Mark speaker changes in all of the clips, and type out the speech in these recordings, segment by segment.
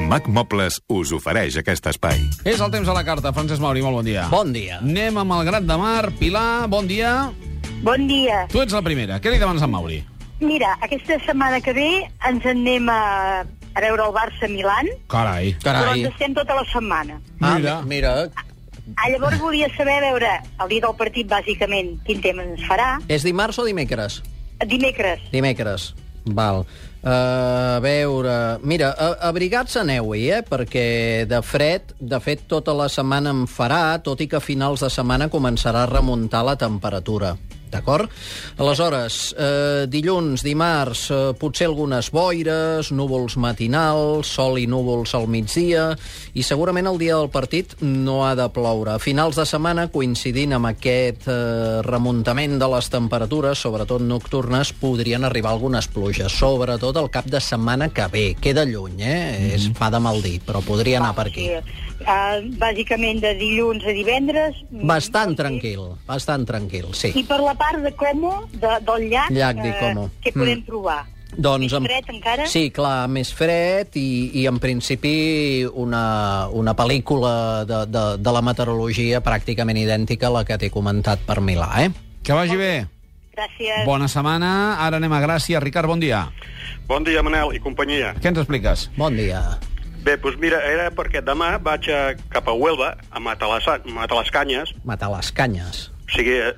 Speaker 1: Mac Mobles us ofereix aquest espai.
Speaker 2: És el temps a la carta. Francesc Mauri, molt bon dia.
Speaker 3: Bon dia.
Speaker 2: Anem a Malgrat de Mar. Pilar, bon dia.
Speaker 4: Bon dia.
Speaker 2: Tu ets la primera. Què li demanes a Mauri?
Speaker 4: Mira, aquesta setmana que ve ens en anem a, a veure el Barça-Milan,
Speaker 2: Carai.
Speaker 4: però
Speaker 3: Carai.
Speaker 4: ens estem tota la setmana.
Speaker 2: Mira.
Speaker 3: Ah, mira.
Speaker 4: Ah, llavors volia saber, a veure, el dia del partit, bàsicament, quin tema ens farà.
Speaker 3: És dimarts o dimecres?
Speaker 4: Dimecres.
Speaker 3: Dimecres. Val. Uh, a veure... Mira, a- abrigats aneu-hi, eh? Perquè de fred, de fet, tota la setmana em farà, tot i que a finals de setmana començarà a remuntar la temperatura. D'acord? Aleshores, eh, dilluns, dimarts, eh, potser algunes boires, núvols matinals, sol i núvols al migdia, i segurament el dia del partit no ha de ploure. A finals de setmana, coincidint amb aquest eh, remuntament de les temperatures, sobretot nocturnes, podrien arribar algunes pluges, sobretot el cap de setmana que ve. Queda lluny, eh? Mm. És, fa de mal dir, però podria anar per aquí.
Speaker 4: Uh, bàsicament de dilluns a divendres.
Speaker 3: Bastant tranquil, bastant tranquil, sí.
Speaker 4: I per la part de Como, de, del llac,
Speaker 3: Llac
Speaker 4: eh,
Speaker 3: de Como.
Speaker 4: què
Speaker 3: Mm.
Speaker 4: podem trobar?
Speaker 3: Doncs
Speaker 4: Més fred, encara?
Speaker 3: Sí, clar, més fred i, i en principi una, una pel·lícula de, de, de la meteorologia pràcticament idèntica a la que t'he comentat per Milà, eh?
Speaker 2: Que vagi bé.
Speaker 4: Gràcies.
Speaker 2: Bona setmana. Ara anem a Gràcia. Ricard, bon dia.
Speaker 5: Bon dia, Manel i companyia.
Speaker 2: Què ens expliques?
Speaker 3: Bon dia.
Speaker 5: Bé, doncs mira, era perquè demà vaig a, cap a Huelva, a matar les, matar les canyes.
Speaker 3: Matar les canyes.
Speaker 5: O sigui, eh,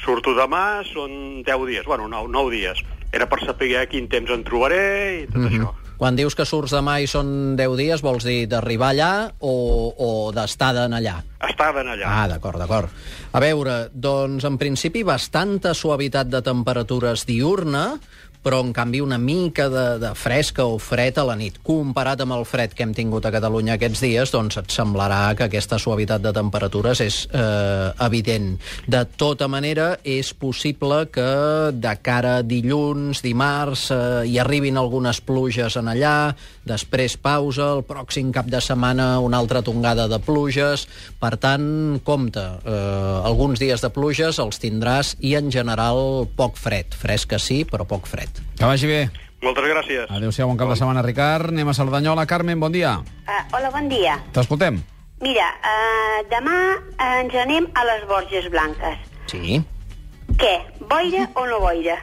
Speaker 5: surto demà, són 10 dies, bueno, 9, 9 dies. Era per saber quin temps en trobaré i tot
Speaker 2: Mhm.
Speaker 5: mm -hmm. això.
Speaker 3: Quan dius que surts demà i són 10 dies, vols dir d'arribar allà o, o d'estada en allà?
Speaker 5: Estaven allà.
Speaker 3: Ah, d'acord, d'acord. A veure, doncs en principi bastanta suavitat de temperatures diurna, però en canvi una mica de, de fresca o fred a la nit. Comparat amb el fred que hem tingut a Catalunya aquests dies, doncs et semblarà que aquesta suavitat de temperatures és eh, evident. De tota manera, és possible que de cara a dilluns, dimarts, eh, hi arribin algunes pluges en allà, després pausa, el pròxim cap de setmana una altra tongada de pluges, per tant, compte, eh, alguns dies de pluges els tindràs i en general poc fred, fresca sí, però poc fred.
Speaker 2: Que vagi bé.
Speaker 5: Moltes gràcies.
Speaker 2: Adéu-siau, bon cap de setmana, Ricard. Anem a Cerdanyola. Carmen, bon dia.
Speaker 4: Ah,
Speaker 6: Uh, hola, bon dia.
Speaker 2: T'escoltem.
Speaker 6: Mira, uh, demà eh, ens anem a les Borges Blanques.
Speaker 3: Sí.
Speaker 6: Què? Boira o no boira?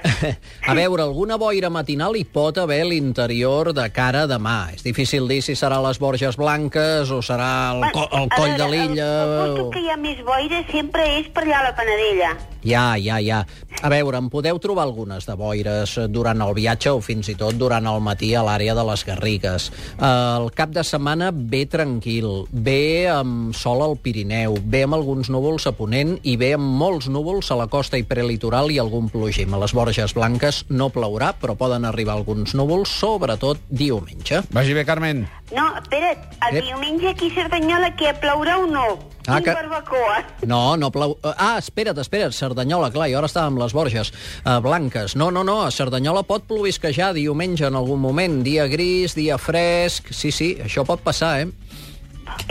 Speaker 3: A veure, alguna boira matinal hi pot haver a l'interior de cara a demà. És difícil dir si serà a les Borges Blanques o serà al, co al
Speaker 6: A
Speaker 3: coll de
Speaker 6: veure,
Speaker 3: l'illa...
Speaker 6: El, el
Speaker 3: o-
Speaker 6: punto que hi ha més boira sempre és per allà a la Panadella.
Speaker 3: Ja, ja, ja. A veure, en podeu trobar algunes de boires eh, durant el viatge o fins i tot durant el matí a l'àrea de les Garrigues. Eh, El cap de setmana ve tranquil, ve amb sol al Pirineu, ve amb alguns núvols a Ponent i ve amb molts núvols a la costa i prelitoral i algun plogim. A les Borges Blanques no plourà, però poden arribar alguns núvols, sobretot diumenge.
Speaker 2: Vagi bé, Carmen.
Speaker 6: No, espera't, el
Speaker 3: Ep.
Speaker 6: diumenge aquí a Cerdanyola que plourà o no?
Speaker 3: Eh? Ah,
Speaker 6: Ah,
Speaker 3: que-
Speaker 6: que... barbacoa.
Speaker 3: No, no plou... Ah, espera't, espera't, Cerdanyola, clar, jo ara estava amb les Borges eh, Blanques. No, no, no, a Cerdanyola pot plovisquejar diumenge en algun moment, dia gris, dia fresc... Sí, sí, això pot passar, eh?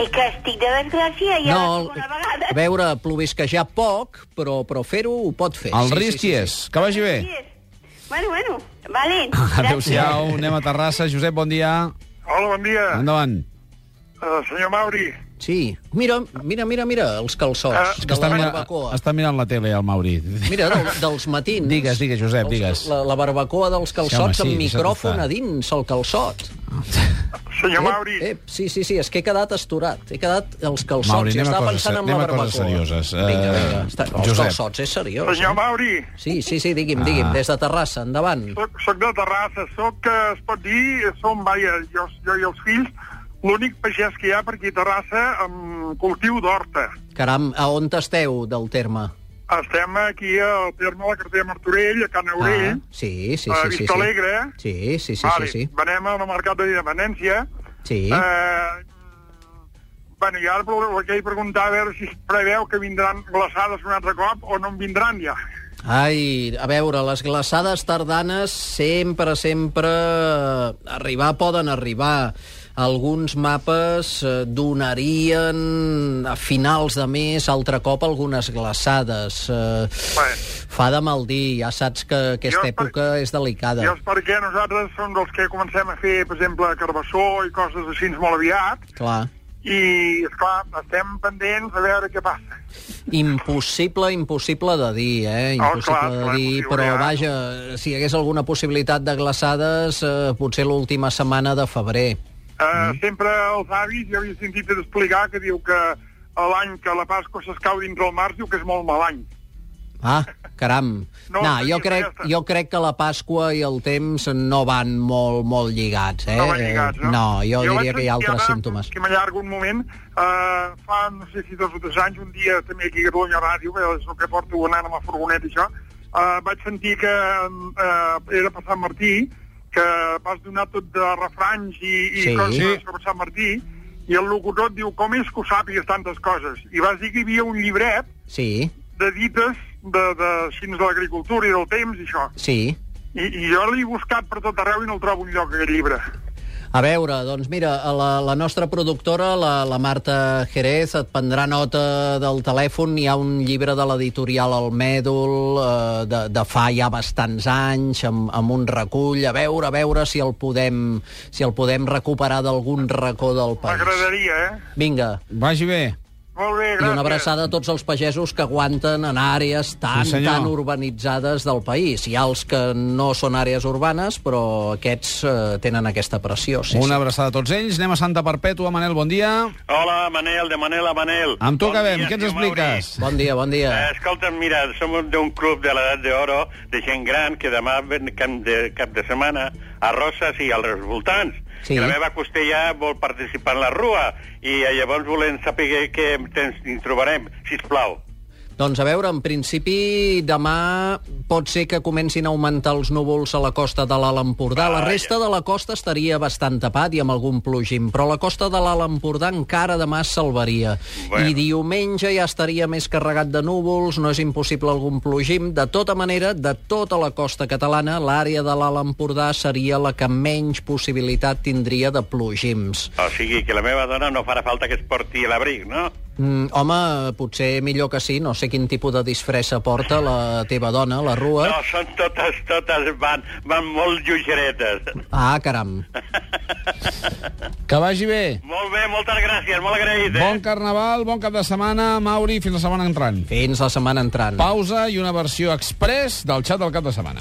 Speaker 6: És que estic de desgràcia ja no, la segona vegada.
Speaker 3: a veure, plovisquejar poc, però, però fer-ho ho pot fer.
Speaker 2: El
Speaker 3: sí,
Speaker 2: risc hi
Speaker 3: sí, sí,
Speaker 2: és. Que vagi bé.
Speaker 6: Així és. Bueno, bueno, valent.
Speaker 2: Adéu-siau. Anem a Terrassa. Josep, bon dia.
Speaker 7: Hola, bon dia.
Speaker 2: Endavant.
Speaker 7: Uh, senyor Mauri,
Speaker 3: Sí. sí. Mira, mira, mira, mira, els calçots
Speaker 7: Ah,
Speaker 3: de la
Speaker 2: Està mirant,
Speaker 3: barbacoa.
Speaker 2: està mirant la tele, el Mauri.
Speaker 3: Mira, del, dels matins.
Speaker 2: Digues, digues, Josep,
Speaker 3: Els-
Speaker 2: digues.
Speaker 3: La, la barbacoa dels calçots
Speaker 2: Sí, home, sí,
Speaker 3: amb
Speaker 2: això
Speaker 3: micròfon
Speaker 2: està.
Speaker 3: a dins, el calçot.
Speaker 2: Eh,
Speaker 7: senyor
Speaker 3: Ep,
Speaker 7: Mauri,
Speaker 3: ep, sí, sí, sí, és que he quedat asturat. He quedat els calçots.
Speaker 2: Mauri,
Speaker 3: i
Speaker 2: anem a
Speaker 3: estava
Speaker 2: coses
Speaker 3: pensant
Speaker 2: se-
Speaker 3: en la
Speaker 2: anem a
Speaker 3: barbacoa.
Speaker 2: coses serioses. Eh,
Speaker 3: Vinga, vinga. Està, els
Speaker 2: Josep. Ah.
Speaker 3: calçots, és seriós. eh?
Speaker 7: senyor Mauri,
Speaker 3: Sí, sí, sí, digui'm, digui'm. Des de Terrassa, endavant.
Speaker 7: soc, soc de Terrassa, soc, que es pot dir, som, vaja, jo, jo i els fills, l'únic pagès que hi ha per aquí a Terrassa amb cultiu d'horta.
Speaker 3: Caram, a on esteu del terme?
Speaker 7: Estem aquí al terme de la cartera Martorell, a Can Aurell,
Speaker 3: Ah, sí, sí, sí.
Speaker 7: a
Speaker 3: sí, sí,
Speaker 7: Vista Alegre.
Speaker 3: Sí, Ah, sí, sí,
Speaker 7: vale,
Speaker 3: sí, sí.
Speaker 7: Venem al mercat de Independència.
Speaker 3: Sí.
Speaker 7: Eh, bueno, i ara volia preguntar a veure si es preveu que vindran glaçades un altre cop o no en vindran ja.
Speaker 3: Ai, a veure, les glaçades tardanes sempre, sempre arribar poden arribar. alguns mapes eh, donarien a finals de mes altre cop algunes glaçades. Eh,
Speaker 7: Bé.
Speaker 3: fa de mal dir, ja saps que aquesta
Speaker 7: Jo per-
Speaker 3: època és delicada.
Speaker 7: I és perquè nosaltres som dels que comencem a fer, per exemple, carbassó i coses així molt aviat,
Speaker 3: Clar.
Speaker 7: i, esclar, estem pendents a veure què passa.
Speaker 3: Impossible, impossible de dir, eh?
Speaker 7: Oh,
Speaker 3: Impossible
Speaker 7: clar,
Speaker 3: de
Speaker 7: clar,
Speaker 3: dir,
Speaker 7: impossible,
Speaker 3: però
Speaker 7: ja.
Speaker 3: vaja, si hi hagués alguna possibilitat de glaçades, eh, potser l'última setmana de febrer.
Speaker 7: Uh, mm. Sempre els avis, jo havia sentit explicar que diu que a l'any que la Pasqua s'escau dins del març diu que és molt mal any.
Speaker 3: Ah, caram. No,
Speaker 7: No,
Speaker 3: no
Speaker 7: sí,
Speaker 3: jo,
Speaker 7: sí,
Speaker 3: crec,
Speaker 7: ja està.
Speaker 3: jo crec que la Pasqua i el temps no van molt, molt lligats, eh?
Speaker 7: No van lligats, no?
Speaker 3: no jo,
Speaker 7: vaig
Speaker 3: diria que hi ha
Speaker 7: sentir
Speaker 3: altres
Speaker 7: ara,
Speaker 3: símptomes.
Speaker 7: Que m'allargo un moment. Uh, fa, no sé si dos o tres anys, un dia també aquí a Catalunya Ràdio, que és el que porto anant amb la furgoneta i això, uh, vaig sentir que uh, era per Sant Martí, que vas donar tot de refranys i, i
Speaker 3: Sí.
Speaker 7: coses
Speaker 2: Sí.
Speaker 7: sobre Sant Martí, i el locutor et diu, com és que ho sàpigues tantes coses? I vas dir que hi havia un llibret
Speaker 3: Sí,
Speaker 7: de dites de, de, així, de l'agricultura i del temps i això.
Speaker 3: sí.
Speaker 7: I, I jo l'he buscat per tot arreu i no el trobo enlloc, aquest llibre.
Speaker 3: A veure, doncs mira, a la, la nostra productora, la, la Marta Jerez, et prendrà nota del telèfon. Hi ha un llibre de l'editorial El Mèdul eh, de, de fa ja bastants anys, amb, amb un recull. A veure, a veure si el podem, si el podem recuperar d'algun racó del país.
Speaker 7: M'agradaria, eh?
Speaker 3: Vinga,
Speaker 2: Vagi bé.
Speaker 7: Molt bé,
Speaker 3: i
Speaker 7: gràcies.
Speaker 3: una abraçada a tots els pagesos que aguanten en àrees tan,
Speaker 2: Sí,
Speaker 3: sí,
Speaker 2: senyor.
Speaker 3: tan urbanitzades del país. Hi ha els que no són àrees urbanes, però aquests eh, tenen aquesta pressió. Sí,
Speaker 2: Sí, Una
Speaker 3: sí.
Speaker 2: abraçada a tots ells. Anem a Santa Perpètua. Manel, bon dia.
Speaker 8: Hola, Manel, de Manel a Manel.
Speaker 2: Amb tu
Speaker 8: Bon
Speaker 2: acabem.
Speaker 8: dia,
Speaker 2: Què ens
Speaker 8: senyor Mauri.
Speaker 2: expliques?
Speaker 3: Bon dia, bon dia.
Speaker 8: Eh, escolta'm, mira, som un- d'un club de l'edat d'oro, de gent gran, que demà ven cap de, cap de setmana a Roses i als voltants.
Speaker 3: Sí.
Speaker 8: I la meva costella vol participar en la rua, i eh, llavors volem saber què temps hi trobarem, si plau.
Speaker 3: Doncs a veure, en principi demà pot ser que comencin a augmentar els núvols a la costa de l'Alt Empordà. La resta de la costa estaria bastant tapat i amb algun plogim, però la costa de l'Alt Empordà encara demà es salvaria. Bueno.
Speaker 8: Bueno.
Speaker 3: I diumenge ja estaria més carregat de núvols, no és impossible algun plogim. De tota manera, de tota la costa catalana, l'àrea de l'Alt Empordà seria la que menys possibilitat tindria de plogims.
Speaker 8: O sigui, que la meva dona no farà falta que es porti l'abric, no?
Speaker 3: Mm, home, potser millor que sí, no sé quin tipus de disfressa porta la teva dona, la Rua.
Speaker 8: No, són totes, totes, van, van molt lleugeretes.
Speaker 3: Ah, caram.
Speaker 2: Que vagi bé.
Speaker 8: Molt bé, moltes gràcies, molt agraït, eh?
Speaker 2: Bon carnaval, bon cap de setmana, Mauri, fins la setmana entrant.
Speaker 3: Fins la setmana entrant.
Speaker 2: Pausa i una versió express del xat del cap de setmana.